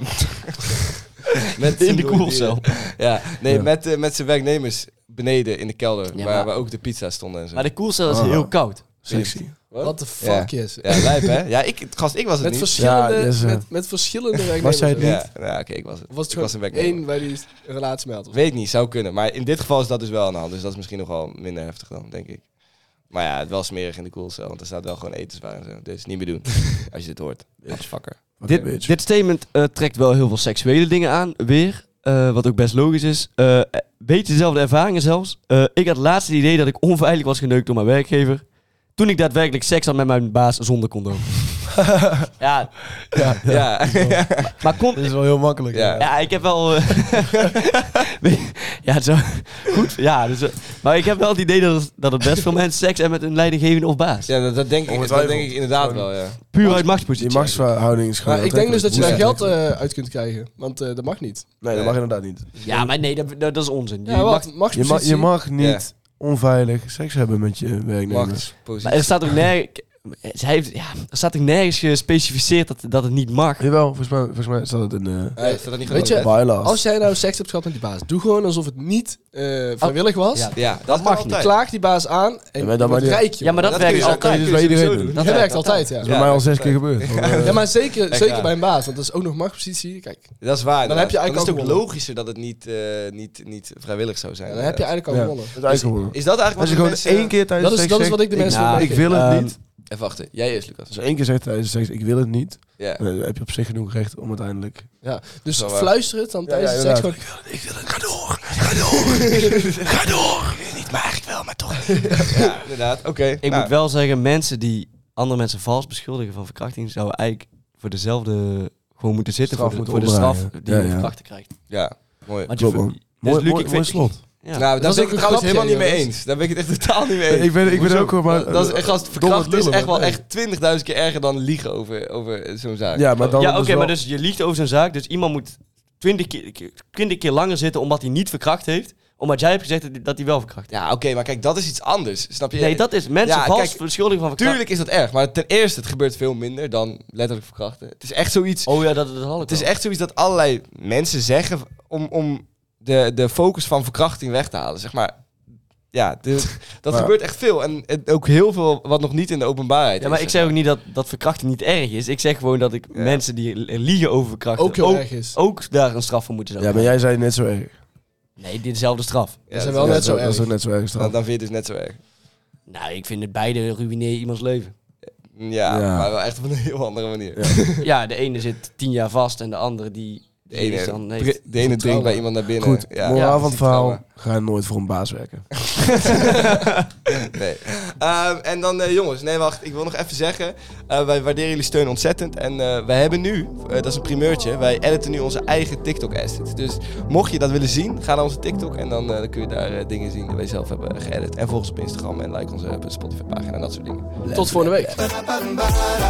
Speaker 3: met
Speaker 5: In
Speaker 3: zijn
Speaker 5: de koelcel.
Speaker 3: Ja, nee,
Speaker 6: Ja.
Speaker 3: Met, eh, met zijn werknemers beneden in de kelder,
Speaker 5: Ja,
Speaker 3: waar,
Speaker 5: maar-
Speaker 3: waar ook de pizza stonden en zo.
Speaker 5: Maar de koercel is
Speaker 6: Ah.
Speaker 5: heel koud.
Speaker 6: Sexy.
Speaker 4: What the fuck,
Speaker 3: Ja.
Speaker 4: yes.
Speaker 3: Ja, lijp hè? Ja, ik, gast, ik was het
Speaker 4: Met
Speaker 3: niet.
Speaker 4: verschillende,
Speaker 6: Ja, yes, eh.
Speaker 4: met, met verschillende werknemers.
Speaker 6: jij het
Speaker 4: ook.
Speaker 6: niet?
Speaker 3: Ja, ja oké, ik was het.
Speaker 4: Of was het
Speaker 3: ik was een
Speaker 4: gewoon
Speaker 3: werknemer.
Speaker 4: één waar die een relatie mee had?
Speaker 3: Weet niet, zou kunnen. Maar in dit geval is dat dus wel aan de hand. Dus dat is misschien nog wel minder heftig dan, denk ik. Maar ja, het was smerig in de koelcel, want er staat wel gewoon etenswaar en zo. Dus niet meer doen, als je dit hoort. Motherfucker.
Speaker 6: Oké,
Speaker 5: Dit,
Speaker 6: bitch.
Speaker 5: dit statement eh, trekt wel heel veel seksuele dingen aan, weer. eh, wat ook best logisch is. Eh, eh, beetje dezelfde ervaringen zelfs. Eh, ik had laatst het idee dat ik onveilig was geneukt door mijn werkgever. Toen ik daadwerkelijk seks had met mijn baas zonder condoom. ja,
Speaker 6: Ja, ja.
Speaker 3: Ja, ja.
Speaker 5: maar komt...
Speaker 6: Dit is wel heel makkelijk.
Speaker 3: Ja.
Speaker 5: Ja, ik heb wel... eh, Nee, ja, zo... Goed, ja. Dus, eh, maar ik heb wel het idee dat het, dat het best veel mensen seks hebben met een leidinggevende of baas.
Speaker 3: dat, dat, denk ik, dat
Speaker 6: Ongetwijfeld.
Speaker 3: denk ik inderdaad wel, ja.
Speaker 5: Puur uit
Speaker 6: Die
Speaker 5: machtspositie.
Speaker 6: machtsverhouding is gewoon...
Speaker 4: Maar ik denk dus dat je daar
Speaker 6: aantrekkelijk.
Speaker 4: geld eh, uit kunt krijgen. Want eh, dat mag niet.
Speaker 6: Nee, dat mag inderdaad niet.
Speaker 5: Ja, maar nee, dat, dat, dat is onzin.
Speaker 4: Ja,
Speaker 5: Je
Speaker 4: wat?
Speaker 5: mag-
Speaker 4: Mag
Speaker 6: Je mag, je mag niet onveilig seks hebben met je werknemers.
Speaker 3: Machtspositie.
Speaker 5: Maar er staat ook nergens... Hij heeft, ja, er staat ook nergens gespecificeerd dat, dat het niet mag.
Speaker 6: Jawel, volgens mij, volgens mij staat het in de
Speaker 3: Hij heeft dat niet
Speaker 4: Weet
Speaker 3: gedaan,
Speaker 4: je-
Speaker 6: bylaws.
Speaker 4: Als jij nou seks hebt gehad met die baas, doe gewoon alsof het niet eh, vrijwillig was.
Speaker 5: Ja,
Speaker 3: hè? Ja, dat, mag
Speaker 5: mag
Speaker 3: altijd.
Speaker 5: niet.
Speaker 4: Klaag die baas aan en
Speaker 6: Oh, Ja, maar
Speaker 4: je wordt
Speaker 6: dan maar die-
Speaker 4: rijk, joh.
Speaker 5: Ja, maar dat,
Speaker 3: kun
Speaker 5: werkt
Speaker 3: je
Speaker 5: altijd.
Speaker 3: altijd-
Speaker 6: dus
Speaker 3: kun je
Speaker 6: bij
Speaker 3: sowieso
Speaker 6: iedereen doen.
Speaker 4: Dat werkt altijd, ja.
Speaker 6: Dat is
Speaker 3: Ja,
Speaker 6: bij mij al
Speaker 3: dat
Speaker 6: zes
Speaker 3: is
Speaker 6: keer gebeurd. Want, eh,
Speaker 4: Ja, maar zeker,
Speaker 3: Echt
Speaker 4: zeker
Speaker 3: waar.
Speaker 4: bij een baas, want dat is ook nog machtspositie. Kijk,
Speaker 3: Dat is waar.
Speaker 4: Dan heb
Speaker 3: inderdaad.
Speaker 4: je
Speaker 3: Dan
Speaker 4: eigenlijk
Speaker 3: is het
Speaker 4: al
Speaker 3: ook
Speaker 4: gewonnen.
Speaker 3: logischer dat het niet, eh, niet, niet vrijwillig zou zijn.
Speaker 4: dan heb je
Speaker 3: inderdaad.
Speaker 4: eigenlijk al
Speaker 6: Ja.
Speaker 4: gewonnen.
Speaker 6: dat is eigenlijk gewoon-
Speaker 3: Is dat eigenlijk
Speaker 6: Als je
Speaker 3: wat
Speaker 6: gewoon
Speaker 3: de mensen-
Speaker 6: één keer tijdens
Speaker 4: Dat is,
Speaker 6: seks
Speaker 4: dat is wat ik de
Speaker 5: ik-
Speaker 4: mensen
Speaker 5: nou,
Speaker 4: wil
Speaker 6: zegt, ik
Speaker 4: meegeven.
Speaker 6: wil het
Speaker 5: Ehm,
Speaker 6: niet.
Speaker 3: Even wachten. Jij eerst, Lucas.
Speaker 6: Als je één keer zegt tijdens seks, ik wil het niet,
Speaker 3: Ja.
Speaker 6: dan heb je op zich genoeg recht om uiteindelijk...
Speaker 4: Ja, dus
Speaker 3: Zo, eh,
Speaker 4: fluister het dan
Speaker 6: Ja,
Speaker 4: tijdens
Speaker 6: ja,
Speaker 4: de seks.
Speaker 6: inderdaad.
Speaker 4: gewoon,
Speaker 6: Ik wil het, ga door, ga door, ga door. Niet, maar eigenlijk wel, maar toch.
Speaker 3: Ja, inderdaad. Oké.
Speaker 5: Ik
Speaker 3: nou,
Speaker 5: moet wel zeggen, mensen die andere mensen vals beschuldigen van verkrachting, zouden eigenlijk voor dezelfde gewoon moeten zitten
Speaker 6: Straf
Speaker 5: voor de, voor
Speaker 6: moeten
Speaker 5: de straf
Speaker 6: opdraaien.
Speaker 5: die
Speaker 6: Ja,
Speaker 5: je
Speaker 6: ja.
Speaker 5: verkrachter krijgt.
Speaker 3: Ja, mooi.
Speaker 5: Want je
Speaker 6: Klopt,
Speaker 5: ver-
Speaker 6: man.
Speaker 5: Dus
Speaker 6: Mooi,
Speaker 5: Luc,
Speaker 6: mooi,
Speaker 5: ik
Speaker 6: mooi
Speaker 5: vind-
Speaker 6: slot.
Speaker 5: Ja.
Speaker 3: Nou, daar
Speaker 4: was
Speaker 3: ben ik het
Speaker 4: ook een
Speaker 3: trouwens
Speaker 4: grapje,
Speaker 3: helemaal niet mee
Speaker 4: jongens.
Speaker 3: eens. Daar ben ik het echt totaal niet mee eens.
Speaker 6: Ik ben, ik ben
Speaker 3: Hoezo?
Speaker 6: ook gewoon maar...
Speaker 3: Dat- dat is echt gast, verkracht is
Speaker 6: lullen,
Speaker 3: echt wel
Speaker 6: man.
Speaker 3: echt 20.000 keer erger dan liegen over, over zo'n zaak.
Speaker 6: Ja, maar dan...
Speaker 5: ja,
Speaker 6: dus
Speaker 5: oké,
Speaker 6: wel-
Speaker 5: maar dus je liegt over zo'n zaak, dus iemand moet 20 keer, 20 keer langer zitten omdat hij niet verkracht heeft, omdat jij hebt gezegd dat hij- dat hij wel verkracht heeft.
Speaker 3: Ja, oké, maar kijk, dat is iets anders. Snap je?
Speaker 5: Nee, dat is mensen
Speaker 3: Ja,
Speaker 5: vals
Speaker 3: kijk,
Speaker 5: beschuldigen van verkrachting.
Speaker 3: Tuurlijk is dat erg, maar ten eerste, het gebeurt veel minder dan letterlijk verkrachten. Het is echt zoiets,
Speaker 5: Oh ja, dat, dat had ik
Speaker 3: het is
Speaker 5: wel.
Speaker 3: echt zoiets dat allerlei mensen zeggen om, om de, de focus van verkrachting weg te halen. Zeg maar, ja, de- dat
Speaker 6: Maar-
Speaker 3: gebeurt echt veel. En het- ook heel veel wat nog niet in de openbaarheid
Speaker 5: Ja, maar
Speaker 3: is,
Speaker 5: ik
Speaker 3: zeg
Speaker 5: zeg ook niet dat, dat verkrachten niet erg is. Ik zeg gewoon dat ik
Speaker 3: Ja.
Speaker 5: mensen die li- liegen over verkrachten
Speaker 4: Ook heel
Speaker 6: Oh.
Speaker 4: erg is.
Speaker 5: ook daar een straf voor moeten zijn.
Speaker 6: Ja, maar jij zei net zo erg.
Speaker 5: Nee, dit is dezelfde straf.
Speaker 3: Ja,
Speaker 4: zijn
Speaker 3: dat-
Speaker 4: wel
Speaker 6: Ja,
Speaker 4: net zo
Speaker 6: dat- Dat is
Speaker 4: erg.
Speaker 6: ook net zo erg. straf.
Speaker 3: dan, dan vind je het dus net zo erg.
Speaker 5: Nou, ik vind het beide ruïneer iemands leven.
Speaker 3: Ja,
Speaker 6: Ja.
Speaker 3: maar wel echt op een heel andere manier.
Speaker 5: ja, de ene zit tien jaar vast en de andere die...
Speaker 3: De
Speaker 5: die is
Speaker 3: ene,
Speaker 5: dan
Speaker 3: dri-
Speaker 5: heeft-
Speaker 3: de ene drinkt bij
Speaker 4: trauma.
Speaker 3: iemand naar binnen.
Speaker 6: Goed,
Speaker 3: ja.
Speaker 6: moraal
Speaker 5: Ja,
Speaker 6: van
Speaker 3: dat
Speaker 6: het
Speaker 3: is
Speaker 6: verhaal, ga nooit voor een baas werken.
Speaker 3: nee. Ehm, en dan eh, jongens, nee wacht, ik wil nog even zeggen, eh, wij waarderen jullie steun ontzettend en eh, wij hebben nu, eh, dat is een primeurtje, wij editen nu onze eigen TikTok asset. Dus mocht je dat willen zien, ga naar onze TikTok en dan, eh, dan kun je daar eh, dingen zien die wij zelf hebben geëdit. En volg ons op Instagram en like onze eh, Spotify pagina en dat soort dingen.
Speaker 4: Tot volgende week.